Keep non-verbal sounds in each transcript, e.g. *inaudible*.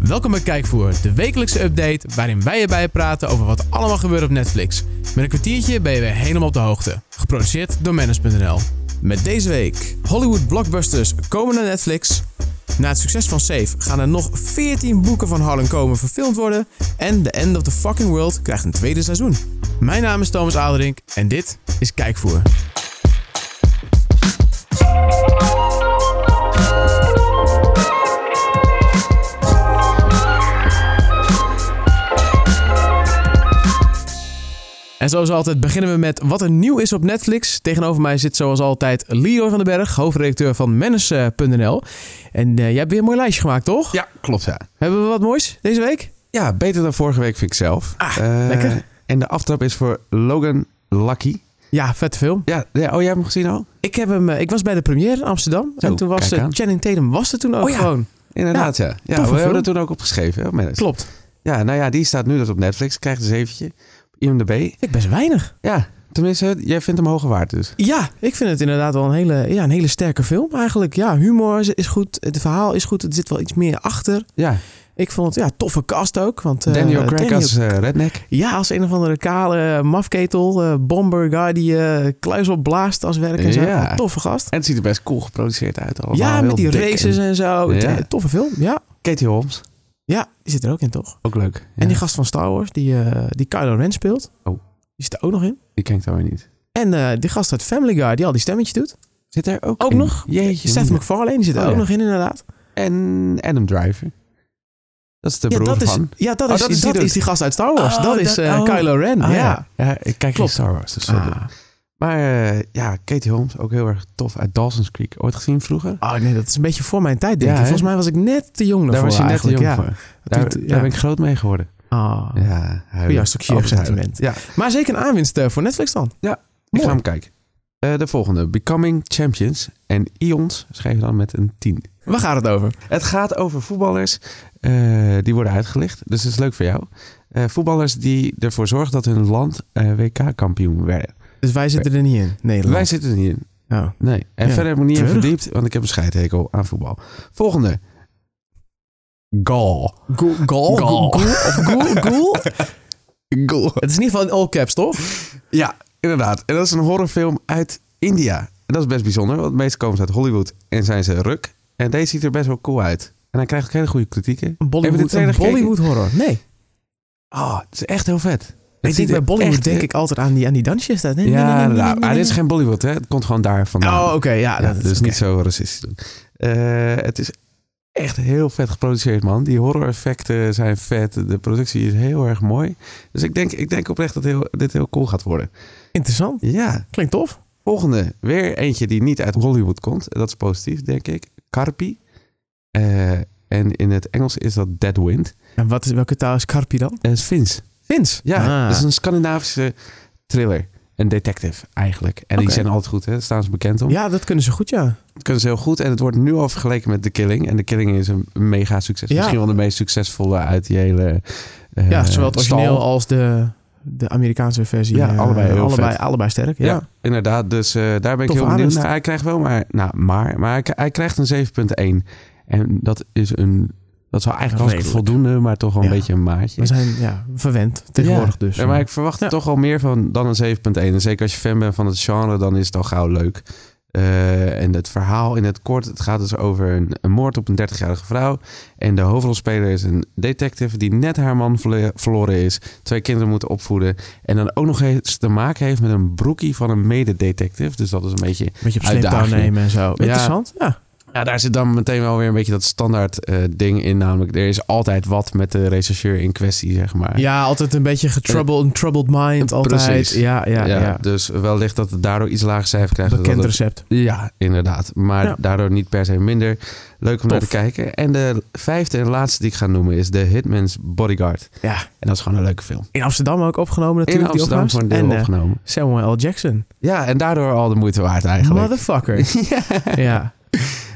Welkom bij Kijkvoer, de wekelijkse update waarin wij erbij praten over wat allemaal gebeurt op Netflix. Met een kwartiertje ben je weer helemaal op de hoogte. Geproduceerd door Manus.nl. Met deze week Hollywood blockbusters komen naar Netflix. Na het succes van Safe gaan er nog 14 boeken van Harlan Komen verfilmd worden. En The End of the Fucking World krijgt een tweede seizoen. Mijn naam is Thomas Aderink en dit is Kijkvoer. En zoals altijd beginnen we met wat er nieuw is op Netflix. Tegenover mij zit zoals altijd Leroy van den Berg, hoofdredacteur van Mennis.nl. En eh, jij hebt weer een mooi lijstje gemaakt, toch? Ja, klopt ja. Hebben we wat moois deze week? Ja, beter dan vorige week vind ik zelf. Ah, Eh, lekker. En de aftrap is voor Logan Lucky. Ja, vette film. Ja, ja, oh, jij hebt hem gezien al? Ik, heb hem, eh, ik was bij de première in Amsterdam. Zo, en toen was Oh, kijk eh, aan. Channing Tatum was er toen ook Oh ja. gewoon. Inderdaad, ja. Ja, we film. hebben er toen ook opgeschreven. Hè, op Manus. Klopt. Ja, nou ja, die staat nu dus op Netflix. Krijgt dus eventje. IMDb. Vind ik best weinig. Ja, tenminste, jij vindt hem hoger waard dus. Ja, ik vind het inderdaad wel een hele, ja, een hele sterke film eigenlijk. Ja, humor is, is goed. Het verhaal is goed. Er zit wel iets meer achter. Ja, Ik vond het ja, toffe cast ook. Want, eh, Daniel Craig Daniel als eh, redneck. Ja, als een of andere kale eh, mafketel, eh, bomber guy die eh, kluis opblaast als werk en zo. Oh, Ja. Toffe gast. En het ziet er best cool geproduceerd uit allemaal. ja, met Heel die dik en- races en, zo. Ja. Ja, Toffe film, ja. Katie Holmes. Ja, die zit er ook in toch? Ook leuk. Ja, En die gast van Star Wars, die, eh, die Kylo Ren speelt. Oh. Die zit er ook nog in. die ken ik dan weer niet. En eh, die gast uit Family Guy, die al die stemmetje doet. Zit er ook Ook in? nog? Eh, Jeetje. Seth MacFarlane, die zit er Oh, ook ja. nog in inderdaad. En Adam Driver. Dat is de broer ja, dat van... is, ja, dat, Oh, is, dat dat, is is, die die dude. gast uit Star Wars. Oh, dat is dat- eh, oh. Kylo Ren, Ah, ja. ja, ik kijk Klopt. geen Star Wars. Dus dat doe Ah. ik. Maar eh, ja, Katie Holmes, ook heel erg tof uit Dawson's Creek. Ooit gezien vroeger? Oh nee, dat is een beetje voor mijn tijd denk Ja, ik. hè? Volgens mij was ik net te jong Daar daarvoor was je net te jong eigenlijk, ja. voor. Oh. Daar, doet- daar ja. ben ik groot mee geworden. Ah. Ja, huilen. Oh, Ja, een stukje Altijd sentiment. huilen. Ja, Maar zeker een aanwinst eh, voor Netflix dan. ik Mooi. ga hem kijken. Eh, de volgende, Becoming Champions. En Ions schrijf je dan met een 10. Waar gaat het over? Het gaat over voetballers eh, die worden uitgelicht. Dus dat is leuk voor jou. Eh, voetballers die ervoor zorgen dat hun land eh, WK-kampioen werden. Dus wij zitten er niet in, Nederland. Wij zitten er niet in. Oh. Nee. En Ja, verder heb ik me niet in treurig. verdiept, want ik heb een scheidhekel aan voetbal. Volgende. Gal. Goal, goal, Goal. Of *laughs* goal, goal. Gal. Het is in ieder geval in all caps, toch? Ja, inderdaad. En dat is een horrorfilm uit India. En dat is best bijzonder, want meestal komen ze uit Hollywood en zijn ze ruk. En deze ziet er best wel cool uit. En hij krijgt ook hele goede kritieken. Een Hebben we Bollywood, de trailer een Bollywood horror. Nee. Ah, Oh, het is echt heel vet. Het Ik ziet denk bij er Bollywood echt- denk ik altijd aan die, aan die dansjes. daar. Nee, nee, nee, nee, Ja, nee, nee, inderdaad. nee, Maar nee. dit is geen Bollywood, hè? Het komt gewoon daar vandaan. Oh, oké. ja, Ja, dat is dus oké. niet zo racistisch doen. Eh, het is echt heel vet geproduceerd, man. Die horror-effecten zijn vet. De productie is heel erg mooi. Dus ik denk, ik denk oprecht dat heel, dit heel cool gaat worden. Interessant. Ja, Klinkt tof. volgende. Weer eentje die niet uit Hollywood komt. Dat is positief, denk ik. Carpi. Eh, en in het Engels is dat Dead Wind. En wat is, welke taal is Carpi dan? Het is Fins. Vins. Ja, Ah. dat is een Scandinavische thriller. Een detective, eigenlijk. En die Oké. zijn altijd goed, hè? Daar staan ze bekend om. ja, dat kunnen ze goed, ja. Dat kunnen ze heel goed. En het wordt nu al vergeleken met The Killing. En The Killing is een mega succes. Ja. Misschien wel de meest succesvolle uit die hele eh, Ja, zowel het origineel stal. als de, de Amerikaanse versie. Ja, eh, allebei heel allebei, vet. allebei sterk, ja. Ja. inderdaad. Dus eh, daar ben Tof ik heel benieuwd aanwinst. naar. Hij krijgt wel maar... Nou, maar. Maar hij, hij krijgt een 7.1. En dat is een... Dat is wel eigenlijk hartstikke Redelijk. voldoende, maar toch wel een Ja. beetje een maatje. We zijn ja, verwend tegenwoordig Ja. dus. Ja, maar ik verwacht Ja. toch al meer van dan een 7.1. En zeker als je fan bent van het genre, dan is het al gauw leuk. Eh, en het verhaal in het kort, het gaat dus over een, een moord op een 30-jarige vrouw. En de hoofdrolspeler is een detective die net haar man verle- verloren is. Twee kinderen moeten opvoeden. En dan ook nog eens te maken heeft met een broekie van een mededetective. Dus dat is een beetje... Een beetje op sleeptouw Uitdaging. nemen en zo. Interessant, ja. Ja, daar zit dan meteen wel weer een beetje dat standaard eh, ding in. Namelijk, er is altijd wat met de rechercheur in kwestie, zeg maar. Ja, altijd een beetje getroubled, een troubled mind altijd. Precies. Ja, ja, ja. Ja, Dus wellicht dat het daardoor iets lager cijfer krijgt. dan Bekend dat het- recept. Ja, inderdaad. Maar Ja. daardoor niet per se minder. Leuk om naar te Tof. kijken. En de vijfde en laatste die ik ga noemen is The Hitman's Bodyguard. Ja, En dat is gewoon een leuke film. in Amsterdam ook opgenomen In natuurlijk. die Amsterdam opnames. voor een en, deel eh, opgenomen. Samuel L. Jackson. Ja, en daardoor al de moeite waard eigenlijk. *laughs* Motherfucker. ja. ja.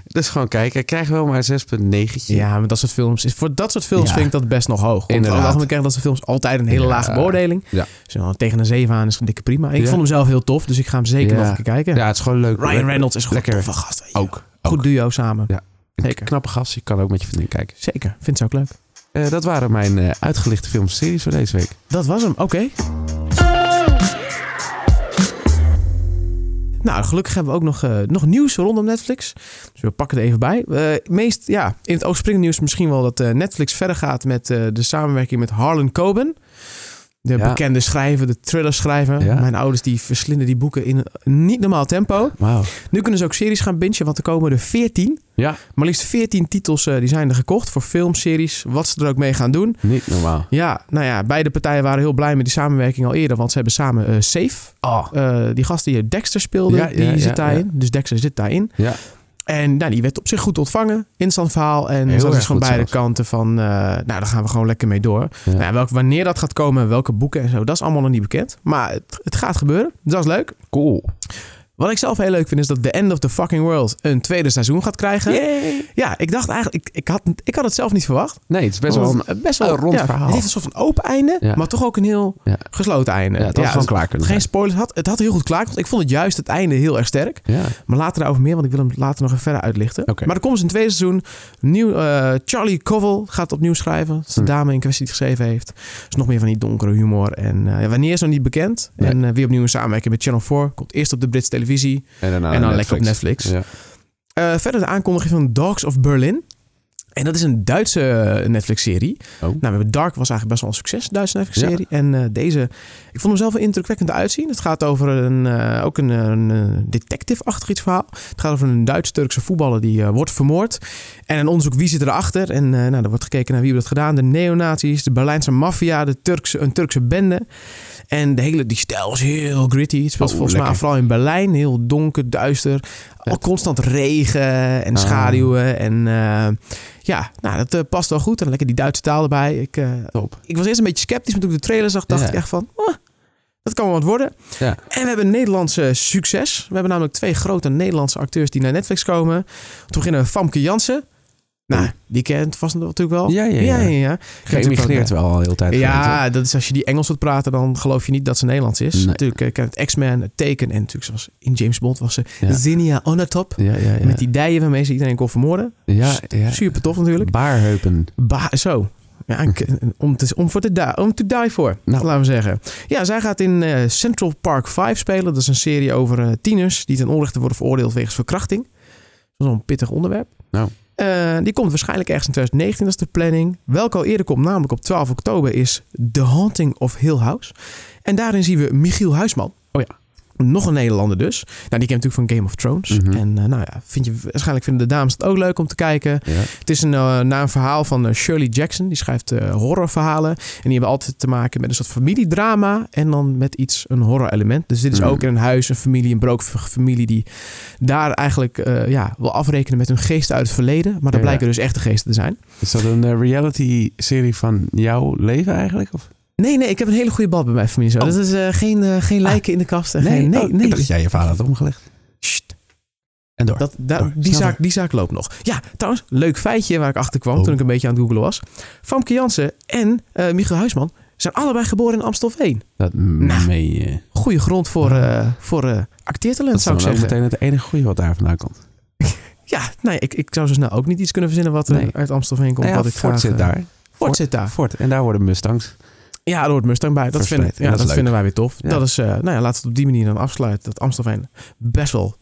Dus gewoon kijken. Ik krijg wel maar 6,9. ja, maar dat soort films. is- Voor dat soort films Ja. vind ik dat best nog hoog. Want Inderdaad. Inderdaad. krijgen dat soort films altijd een hele Ja. lage beoordeling. Ja. Dus dan tegen een 7 aan is een dikke prima. Ik Ja. vond hem zelf heel tof, dus ik ga hem zeker Ja. nog een keer kijken. Ja, het is gewoon leuk. Ryan Reynolds is gewoon Lekker. een toffe gast. weet je. Ook. Goed duo samen. Ja. Een Zeker. knappe gast. Je kan ook met je vriendin kijken. Zeker. Vindt ze ook leuk. Eh, dat waren mijn eh, uitgelichte filmseries voor deze week. Dat was hem, oké. Nou, gelukkig hebben we ook nog, eh, nog nieuws rondom Netflix. Dus we pakken er even bij. Eh, meest, ja, in het oog springende nieuws misschien wel dat eh, Netflix verder gaat met eh, de samenwerking met Harlan Coben. De Ja. bekende schrijver, de thrillerschrijver. Ja. Mijn ouders die verslinden die boeken in een niet normaal tempo. Wauw. Nu kunnen ze ook series gaan bingen, want er komen er 14. Ja, Maar liefst 14 titels eh, die zijn er gekocht voor films, series, wat ze er ook mee gaan doen. niet normaal. Ja, nou ja, beide partijen waren heel blij met die samenwerking al eerder. Want ze hebben samen eh, Safe, Oh. eh, die gast die Dexter speelde, Ja, die ja, ja, zit daarin. Dus Dexter zit daarin. Ja. En nou, die werd op zich goed ontvangen. Instant verhaal. En Heel dat erg is van goed beide zelfs. kanten van, eh, nou, daar gaan we gewoon lekker mee door. Ja. Nou, ja, welk, wanneer dat gaat komen, welke boeken en zo, dat is allemaal nog niet bekend. Maar het, het gaat gebeuren. Dus dat is leuk. Cool. Wat ik zelf heel leuk vind, is dat The End of the Fucking World een tweede seizoen gaat krijgen. Ja, ik dacht eigenlijk, ik, ik, had, ik had het zelf niet verwacht. Nee, het is best wel een... een, best een rond verhaal. Het heeft een soort van open einde, Ja. maar toch ook een heel Ja. gesloten einde. Ja, het had gewoon het- klaar kunnen Geen spoilers had. Het had heel goed klaar. Want ik vond het juist het einde heel erg sterk. zijn. Ja. Maar later daarover meer, want ik wil hem later nog even verder uitlichten. Oké. Maar er komt dus een tweede seizoen. Nieuw, eh, Charlie Covel gaat opnieuw schrijven. Dat is de Hm. dame in kwestie die het geschreven heeft. Dus nog meer van die donkere humor. En eh, ja, wanneer is nog niet bekend. Nee. En eh, weer opnieuw een samenwerking met Channel 4. Komt eerst op de Britse televisie. En, daarna en dan Ah, Netflix. lekker op Netflix. Ja. Eh, verder de aankondiging van Dogs of Berlin. En dat is een Duitse eh, Netflix-serie. Oh. Nou, we hebben Dark was eigenlijk best wel een succes, Duitse Netflix-serie. En eh, deze, ik vond hem zelf wel indrukwekkend uitzien. Het gaat over een, eh, ook een, eh, een eh, detective-achtig iets verhaal. Het gaat over een Duits-Turkse voetballer die eh, wordt vermoord. En een onderzoek wie zit erachter. En eh, nou, er wordt gekeken naar wie heeft dat gedaan. De neonazi's, de Berlijnse maffia, de Turkse, een Turkse bende. En de hele, die stijl is heel gritty. Het speelt Oh, volgens mij lekker. vooral in Berlijn. Heel donker, duister. Al constant regen en Ah. schaduwen. En eh, ja, nou, dat eh, past wel goed. En lekker die Duitse taal erbij. Ik, eh, Top. ik was eerst een beetje sceptisch, maar toen ik de trailer zag, dacht Ja. ik echt van... "Oh, dat kan wel wat worden. Ja. En we hebben een Nederlandse succes. We hebben namelijk twee grote Nederlandse acteurs die naar Netflix komen. Om te beginnen Famke Jansen. Nou, die kent vast natuurlijk wel. Ja, ja, ja. ja, ja. Geëmigreerd wel al een hele tijd. geleden, Ja, dat is als je die Engels hoort praten, dan geloof je niet dat ze Nederlands is. Nee. Natuurlijk, eh, ik ken het X-Men, het teken en natuurlijk zoals in James Bond was ze Ja. Zinnia on the top. toch? Ja, ja, ja. Met die dijen waarmee ze iedereen kon vermoorden. ja, ja. Super tof natuurlijk. Baarheupen. Ba zo. Ja, ik- om, te, om, voor te die, om to die voor, Nou. laten we zeggen. Ja, zij gaat in eh, Central Park 5 spelen. Dat is een serie over eh, tieners die ten onrechte worden veroordeeld wegens verkrachting. Dat is een pittig onderwerp. Nou. Eh, die komt waarschijnlijk ergens in 2019, dat is de planning. Welke al eerder komt, namelijk op 12 oktober, is The Haunting of Hill House. En daarin zien we Michiel Huisman. Oh ja. Nog een Nederlander dus. Nou, die kent natuurlijk van Game of Thrones. Mhm. En eh, nou ja, vind je, waarschijnlijk vinden de dames het ook leuk om te kijken. Ja. Het is een, eh, na een verhaal van eh, Shirley Jackson. Die schrijft eh, horrorverhalen. En die hebben altijd te maken met een soort familiedrama. En dan met iets, een horror element. Dus dit is Mm. ook in een huis, een familie, een broodfamilie familie die daar eigenlijk eh, ja, wil afrekenen met hun geesten uit het verleden. Maar dat Ja. blijken dus echte geesten te zijn. Is dat een eh, reality-serie van jouw leven eigenlijk? Of? Nee, nee, ik heb een hele goede bal bij mijn familie. Zo. Oh. Ah. Dat is eh, geen, eh, geen lijken in de kast. en geen- Oh, Ik dacht dat jij je vader had omgelegd. Sst. En door. Dat, daar- Door, die, Oh, snel zaak, door. die zaak loopt nog. Ja, trouwens, leuk feitje waar ik achter kwam Oh. toen ik een beetje aan het googelen was. Famke Jansen en eh Michiel Huisman zijn allebei geboren in Amstelveen. Dat Nou. meen je. Goede grond voor, eh, voor eh, acteertalent, Oh. Dat zou is dan ik zeggen. ook meteen het enige goede wat daar vandaan komt. Ja, nee, ik, ik zou zo snel ook niet iets kunnen verzinnen wat er Nee. uit Amstelveen komt. Nou ja, wat ik Ford graag, zit eh, daar. Ford zit daar. Ford. En daar worden Mustangs. Ja, er hoort Mustang bij. Dat, Verspreid. vinden, En ja, dat dat is leuk. vinden wij weer tof. Ja. Dat is, eh, nou ja, laten we het op die manier dan afsluiten. Dat Amstelveen best wel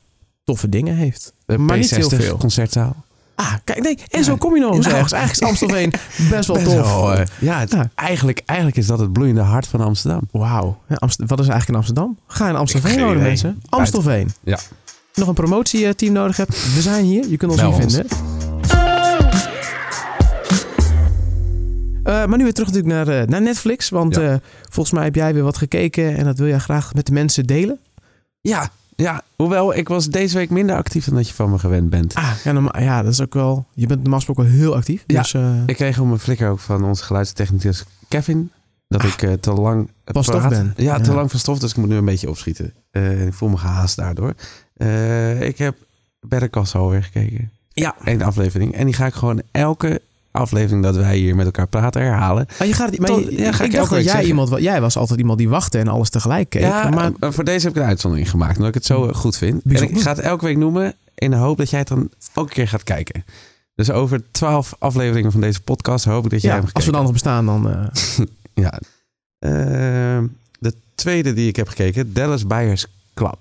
toffe dingen heeft. De Maar P60 niet heel veel. concertzaal. Ah, kijk, nee. En Ja. zo kom je nog eens Ja. ergens. Eigenlijk is *laughs* Amstelveen best wel Best tof. wel, eh, ja, het- Ja. Eigenlijk, eigenlijk is dat het bloeiende hart van Amsterdam. Wauw. Ja, Amst- wat is eigenlijk in Amsterdam? Ga in Ik Amstelveen heb geen wonen, idee. mensen. Amstelveen. Ja. Nog een promotieteam nodig hebt? We zijn hier. Je kunt ons Bel hier ons. vinden. Eh, maar nu weer terug natuurlijk naar, eh, naar Netflix. Want Ja. eh, volgens mij heb jij weer wat gekeken en dat wil jij graag met de mensen delen. Ja, ja. Hoewel, ik was deze week minder actief dan dat je van me gewend bent. Ah, ja, norma- ja, dat is ook wel. Je bent normaal gesproken wel heel actief. Ja. Dus eh, Ik kreeg op mijn flikker ook van onze geluidstechnicus Kevin... dat Ah. ik eh, te lang... Van stof ben. Ja, Ja. te lang van stof, dus ik moet nu een beetje opschieten. Eh, ik voel me gehaast daardoor. Eh, ik heb Better Call Saul weer gekeken. Ja. Eén aflevering. En die ga ik gewoon elke aflevering dat wij hier met elkaar praten herhalen. ah, je gaat. Maar Tot- je- ja, ga ik ik, elke dacht week dat jij zeggen. iemand. wa- Jij was altijd iemand die wachtte en alles tegelijk keek. ja, maar maar voor deze heb ik een uitzondering gemaakt, omdat ik het zo eh, goed vind. En eh, Bijzonder. ik ga het elke week noemen in de hoop dat jij het dan ook een keer gaat kijken. Dus over twaalf afleveringen van deze podcast hoop ik dat jij Ja, hem als we gekeken dan nog bestaan, dan... eh, Ja. Ehm, de tweede die ik heb gekeken, Dallas Buyers Club.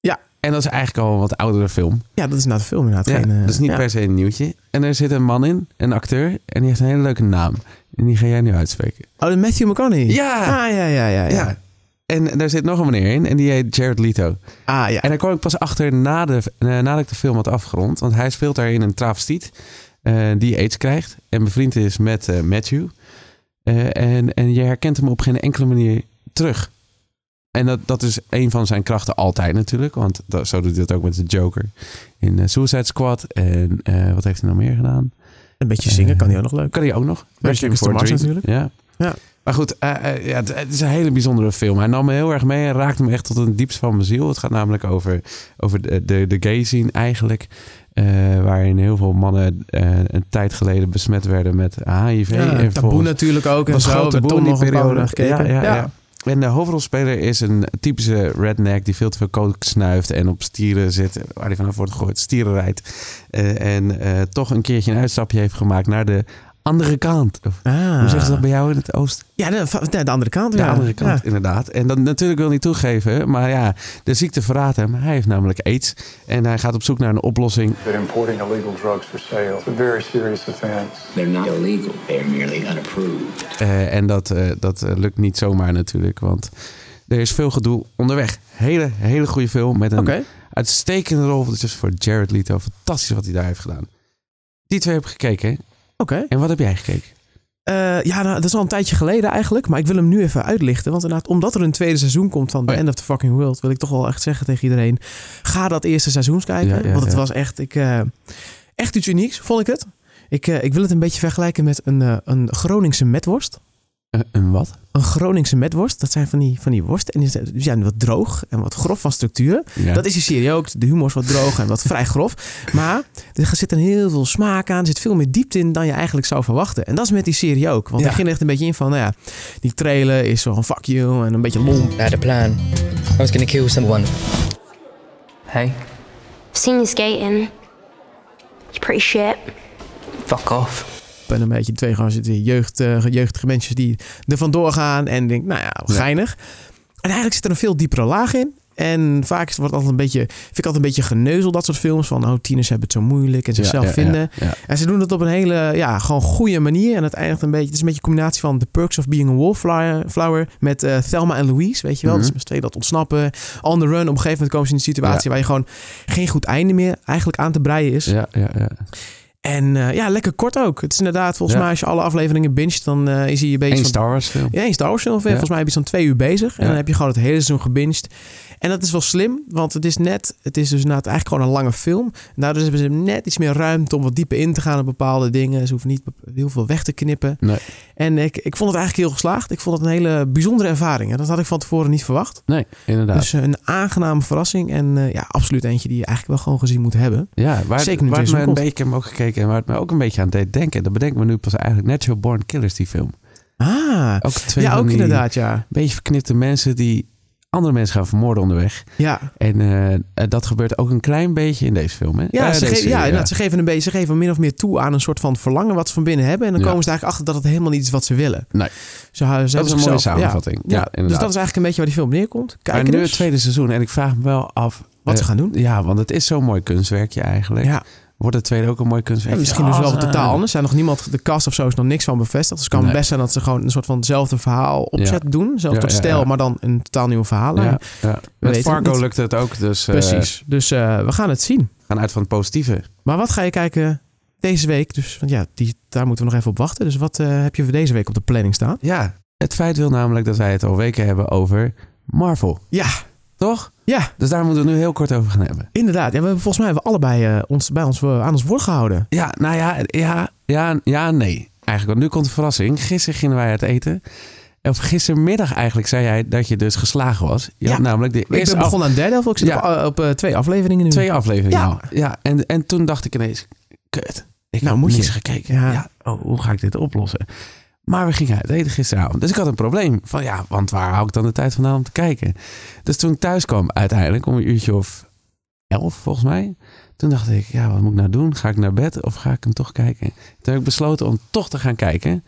Ja. En dat is eigenlijk al een wat oudere film. ja, dat is na de film inderdaad. Ja, geen, eh, dat is niet ja. per se een nieuwtje. En er zit een man in, een acteur, en die heeft een hele leuke naam. En die ga jij nu uitspreken. Oh, de Matthew McConaughey. Ah, ja, Ja! ja, ja, ja. ja. En daar zit nog een meneer in, en die heet Jared Leto. Ah, ja. En daar kwam ik pas achter na de, eh, nadat ik de film had afgerond. Want hij speelt daarin een travestiet eh, die aids krijgt. En bevriend is met eh, Matthew. Eh, en, en je herkent hem op geen enkele manier terug. En dat, dat is een van zijn krachten altijd natuurlijk. Want dat, zo doet hij dat ook met de Joker in eh, Suicide Squad. En eh, wat heeft hij nog meer gedaan? Een beetje zingen kan die ook nog leuk. Kan hij ook nog. Requiem for a Dream. Ja. Ja. Maar goed, eh, eh, ja, het, het is een hele bijzondere film. Hij nam me heel erg mee en raakte me echt tot een diepst van mijn ziel. Het gaat namelijk over, over de, de, de gay scene eigenlijk. eh, waarin heel veel mannen eh, een tijd geleden besmet werden met HIV. Ja, en taboe vervolgens- natuurlijk ook. En was zo groot hebben we taboe Tom in die nog een paar periode. naar gekeken. Ja, ja, ja. En de hoofdrolspeler is een typische redneck die veel te veel coke snuift en op stieren zit, waar hij vanaf wordt gegooid, stieren rijdt. Eh, en eh, toch een keertje een uitstapje heeft gemaakt naar de andere kant. Of, Ah. Hoe zeggen ze dat bij jou in het oosten? Ja, de, va- de, de andere kant. De ja. andere kant, Ja. inderdaad. En dat natuurlijk wil hij niet toegeven, maar ja, de ziekte verraadt hem. Hij heeft namelijk aids en hij gaat op zoek naar een oplossing. that importing illegal drugs for sale is a very serious offense. They're not illegal, they're merely unapproved. Eh, en dat, eh, dat eh, lukt niet zomaar natuurlijk, want er is veel gedoe onderweg. Hele, hele goede film met een Oké. uitstekende rol dus voor Jared Leto. Fantastisch wat hij daar heeft gedaan. Die twee heb ik gekeken. Oké. En wat heb jij gekeken? Eh, ja, nou, dat is al een tijdje geleden eigenlijk. Maar ik wil hem nu even uitlichten. Want inderdaad, omdat er een tweede seizoen komt van The Oh ja. End of the Fucking World... wil ik toch wel echt zeggen tegen iedereen... ga dat eerste seizoen eens kijken. Ja, ja, want het ja. was echt, ik, eh, echt iets unieks, vond ik het. Ik, eh, ik wil het een beetje vergelijken met een, eh, een Groningse metworst. Eh, een wat? Een Groningse metworst, dat zijn van die, van die worsten. En die zijn- die zijn wat droog en wat grof van structuur. Ja. Dat is die serie ook. De humor is wat droog en wat vrij grof. *laughs* Maar er zit een heel veel smaak aan. Er zit veel meer diepte in dan je eigenlijk zou verwachten. En dat is met die serie ook. Want Ja. hij ging er echt een beetje in van, nou ja, die trailer is zo van fuck you en een beetje lomp. I had a plan. I was gonna kill someone. Hey, Seen you skating. You're pretty shit. fuck off. En een beetje twee gasten, die jeugd, eh, jeugdige mensen die er vandoor gaan. En denk, nou ja, geinig. En eigenlijk zit er een veel diepere laag in. En vaak is- wordt altijd een beetje, vind ik altijd een beetje geneuzel, dat soort films. Van, oh, tieners hebben het zo moeilijk en Ja, zichzelf ja, ja, vinden. ja. En ze doen dat op een hele, ja, gewoon goede manier. En het eindigt een beetje, het is een beetje een combinatie van The Perks of Being a Wallflower flower met eh, Thelma en Louise, weet je wel. Mhm. Dus met z'n tweeën dat ontsnappen. On the run, op een gegeven moment komen ze in een situatie Ja. waar je gewoon geen goed einde meer eigenlijk aan te breien is. Ja, ja, ja. En eh, ja, lekker kort ook. Het is inderdaad, volgens Ja. mij als je alle afleveringen binget, dan eh, is hij een beetje Eén van- Star Wars film. ja, één Star Wars film. Volgens mij heb je zo'n twee uur bezig. En Ja. dan heb je gewoon het hele seizoen gebinged. En dat is wel slim, want het is net... Het is dus inderdaad eigenlijk gewoon een lange film. En daardoor hebben ze net iets meer ruimte om wat dieper in te gaan op bepaalde dingen. Ze hoeven niet bep- heel veel weg te knippen. Nee. En ik, ik vond het eigenlijk heel geslaagd. Ik vond het een hele bijzondere ervaring. En dat had ik van tevoren niet verwacht. Nee, inderdaad. Dus eh, een aangename verrassing. En eh, ja, absoluut eentje die je eigenlijk wel gewoon gezien moet hebben. ja, waar, zeker niet waar eens het hoe me komt. een beetje ik heb hem ook gekeken en waar het me ook een beetje aan deed denken. Dat bedenk ik me nu pas eigenlijk Natural Born Killers, die film. Ah, Ook twee ja, van ook die inderdaad, ja. beetje verknipte mensen die andere mensen gaan vermoorden onderweg. Ja, En eh, eh, dat gebeurt ook een klein beetje in deze film. Hè? Ja, ze, Eh, deze geven, serie, ja, inderdaad, ze geven een beetje, ze geven min of meer toe aan een soort van verlangen wat ze van binnen hebben. En dan Ja. komen ze eigenlijk achter dat het helemaal niet is wat ze willen. Nee. Ze, ze hebben Dat is een mooie zichzelf- samenvatting. Ja, Ja. Ja, dus inderdaad. dat is eigenlijk een beetje waar die film neerkomt. maar Kijk nu dus het tweede seizoen. En ik vraag me wel af... wat ze eh, gaan doen. Ja, want het is zo'n mooi kunstwerkje eigenlijk. Ja. Wordt het tweede ook een mooi kunstwerk? En misschien Ja, dus wel ah. wat totaal anders. Zijn nog niemand, de cast of zo is nog niks van bevestigd. Dus het kan Nee. best zijn dat ze gewoon een soort van hetzelfde verhaal opzet doen. Zelfs Ja, tot ja, stijl, ja. maar dan een totaal nieuw verhaal. Ja, eh, ja. Met weten het Fargo niet. lukt het ook, dus eh, Precies. Dus eh, we gaan het zien. we gaan uit van het positieve. Maar wat ga je kijken deze week? Dus want ja, die, daar moeten we nog even op wachten. Dus wat eh, heb je voor deze week op de planning staan? Ja, het feit wil namelijk dat wij het al weken hebben over Marvel, Ja, toch? ja. Dus daar moeten we het nu heel kort over gaan hebben. Inderdaad, ja, we hebben, volgens mij hebben we allebei eh, ons, bij ons, eh, aan ons woord gehouden. Ja, nou ja, ja, ja, ja, nee. Eigenlijk, want nu komt de verrassing. Gisteren gingen wij uit eten. Of gistermiddag eigenlijk zei jij dat je dus geslagen was. Je Ja. had namelijk de ik eerste ben af- begonnen aan derde, of ik zit Ja. op, eh, op eh, twee afleveringen nu. twee afleveringen Ja. al. Ja, en, en toen dacht ik ineens, kut. Ik Nou, heb moet je. niets gekeken. Ja. Ja. oh, hoe ga ik dit oplossen? Maar we gingen uit eten gisteravond. Dus ik had een probleem. Van ja, want waar hou ik dan de tijd vandaan om te kijken? Dus toen ik thuis kwam uiteindelijk om een uurtje of elf volgens mij. Toen Toen dacht ik, ja, wat moet ik nou doen? Ga ik naar bed of ga ik hem toch kijken? Toen heb ik besloten om toch te gaan kijken.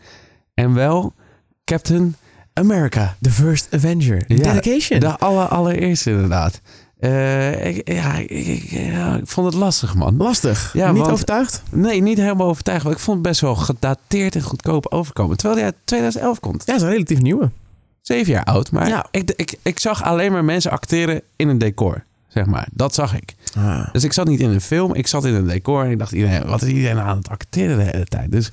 En wel Captain America. The First Avenger. Ja, Dedication. De aller, allereerste inderdaad. Eh, ik, ja, ik, ik- ja, ik vond het lastig, man. Lastig. Ja, Niet want- overtuigd? Nee, niet helemaal overtuigd. want Ik vond het best wel gedateerd en goedkoop overkomen. Terwijl hij uit 2011 komt. Ja, dat is een relatief nieuwe. Zeven jaar oud. Maar Ja. ik, ik, ik zag alleen maar mensen acteren in een decor. Zeg maar. Dat zag ik. Ah, Dus ik zat niet in een film. Ik zat in een decor. En ik dacht, iedereen, wat is iedereen aan het acteren de hele tijd? Dus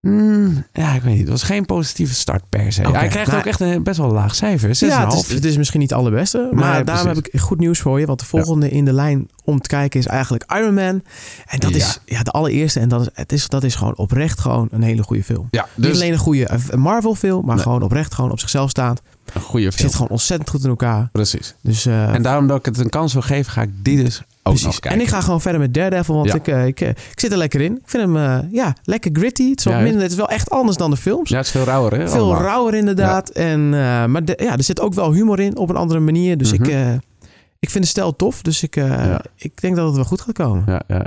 mm, ja, ik weet niet. Het was geen positieve start per se. Oké, hij krijgt maar- ook echt een best wel laag cijfer. 6,5. Ja, het is, het is misschien niet het allerbeste. maar Nee, daarom precies. heb ik goed nieuws voor je. Want de volgende in de lijn om te kijken is eigenlijk Iron Man. En dat Ja. is ja, de allereerste. En dat is, het is, dat is gewoon oprecht gewoon een hele goede film. Ja, Niet dus alleen een goede eh, Marvel film, maar Nee. gewoon oprecht gewoon op zichzelf staand. een goede film. Zit gewoon ontzettend goed in elkaar. Precies. Dus, eh, En daarom dat ik het een kans wil geven, ga ik die dus ook nog precies. kijken. En ik ga gewoon verder met Daredevil, want Ja. ik, eh, ik, eh, ik zit er lekker in. Ik vind hem eh, ja, lekker gritty. Het is, wat Ja, hè? minder, het is wel echt anders dan de films. Ja, het is veel rauwer, hè? Oh, Veel allemaal. rauwer inderdaad. En, eh, maar de- ja, er zit ook wel humor in op een andere manier. Dus Mhm. ik, eh, ik vind de stijl tof. Dus ik, eh, Ja. ik denk dat het wel goed gaat komen. Ja, ja, ja.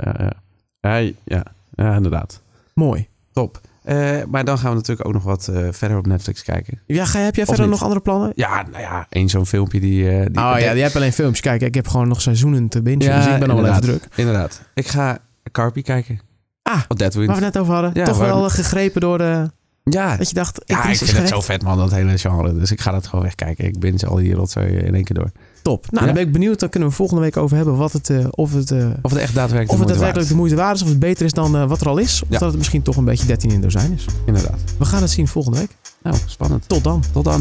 Ja, ja, ja. ja inderdaad. Mooi. Top. Eh, maar dan gaan we natuurlijk ook nog wat eh, verder op Netflix kijken. Ja, ga, heb jij verder niet? nog andere plannen? Ja, nou ja, één zo'n filmpje die... eh, die oh ja, je hebt alleen films. Kijk, ik heb gewoon nog seizoenen te bingen. dus ik ben al wel even inderdaad. druk. Inderdaad. Ik ga Carpi kijken. Ah, Op Deadwind. Waar we het net over hadden. Ja, Toch waar- wel gegrepen door de... ja, Dat je dacht, ik, ja, wil ik iets vind het zo gerecht. vet man, dat hele genre. Dus ik ga dat gewoon wegkijken. Ik binge al die rotzooi in één keer door. Top. Nou, Ja. dan ben ik benieuwd. Dan kunnen we volgende week over hebben wat het, eh, of het, eh, Of het echt daadwerkelijk of het de moeite daadwerkelijk de moeite waard is. Of het beter is dan eh, wat er al is. Of Ja. dat het misschien toch een beetje 13 in dozijn is. waard is. Inderdaad. We gaan het zien volgende week. Nou, spannend. Tot dan. Tot dan.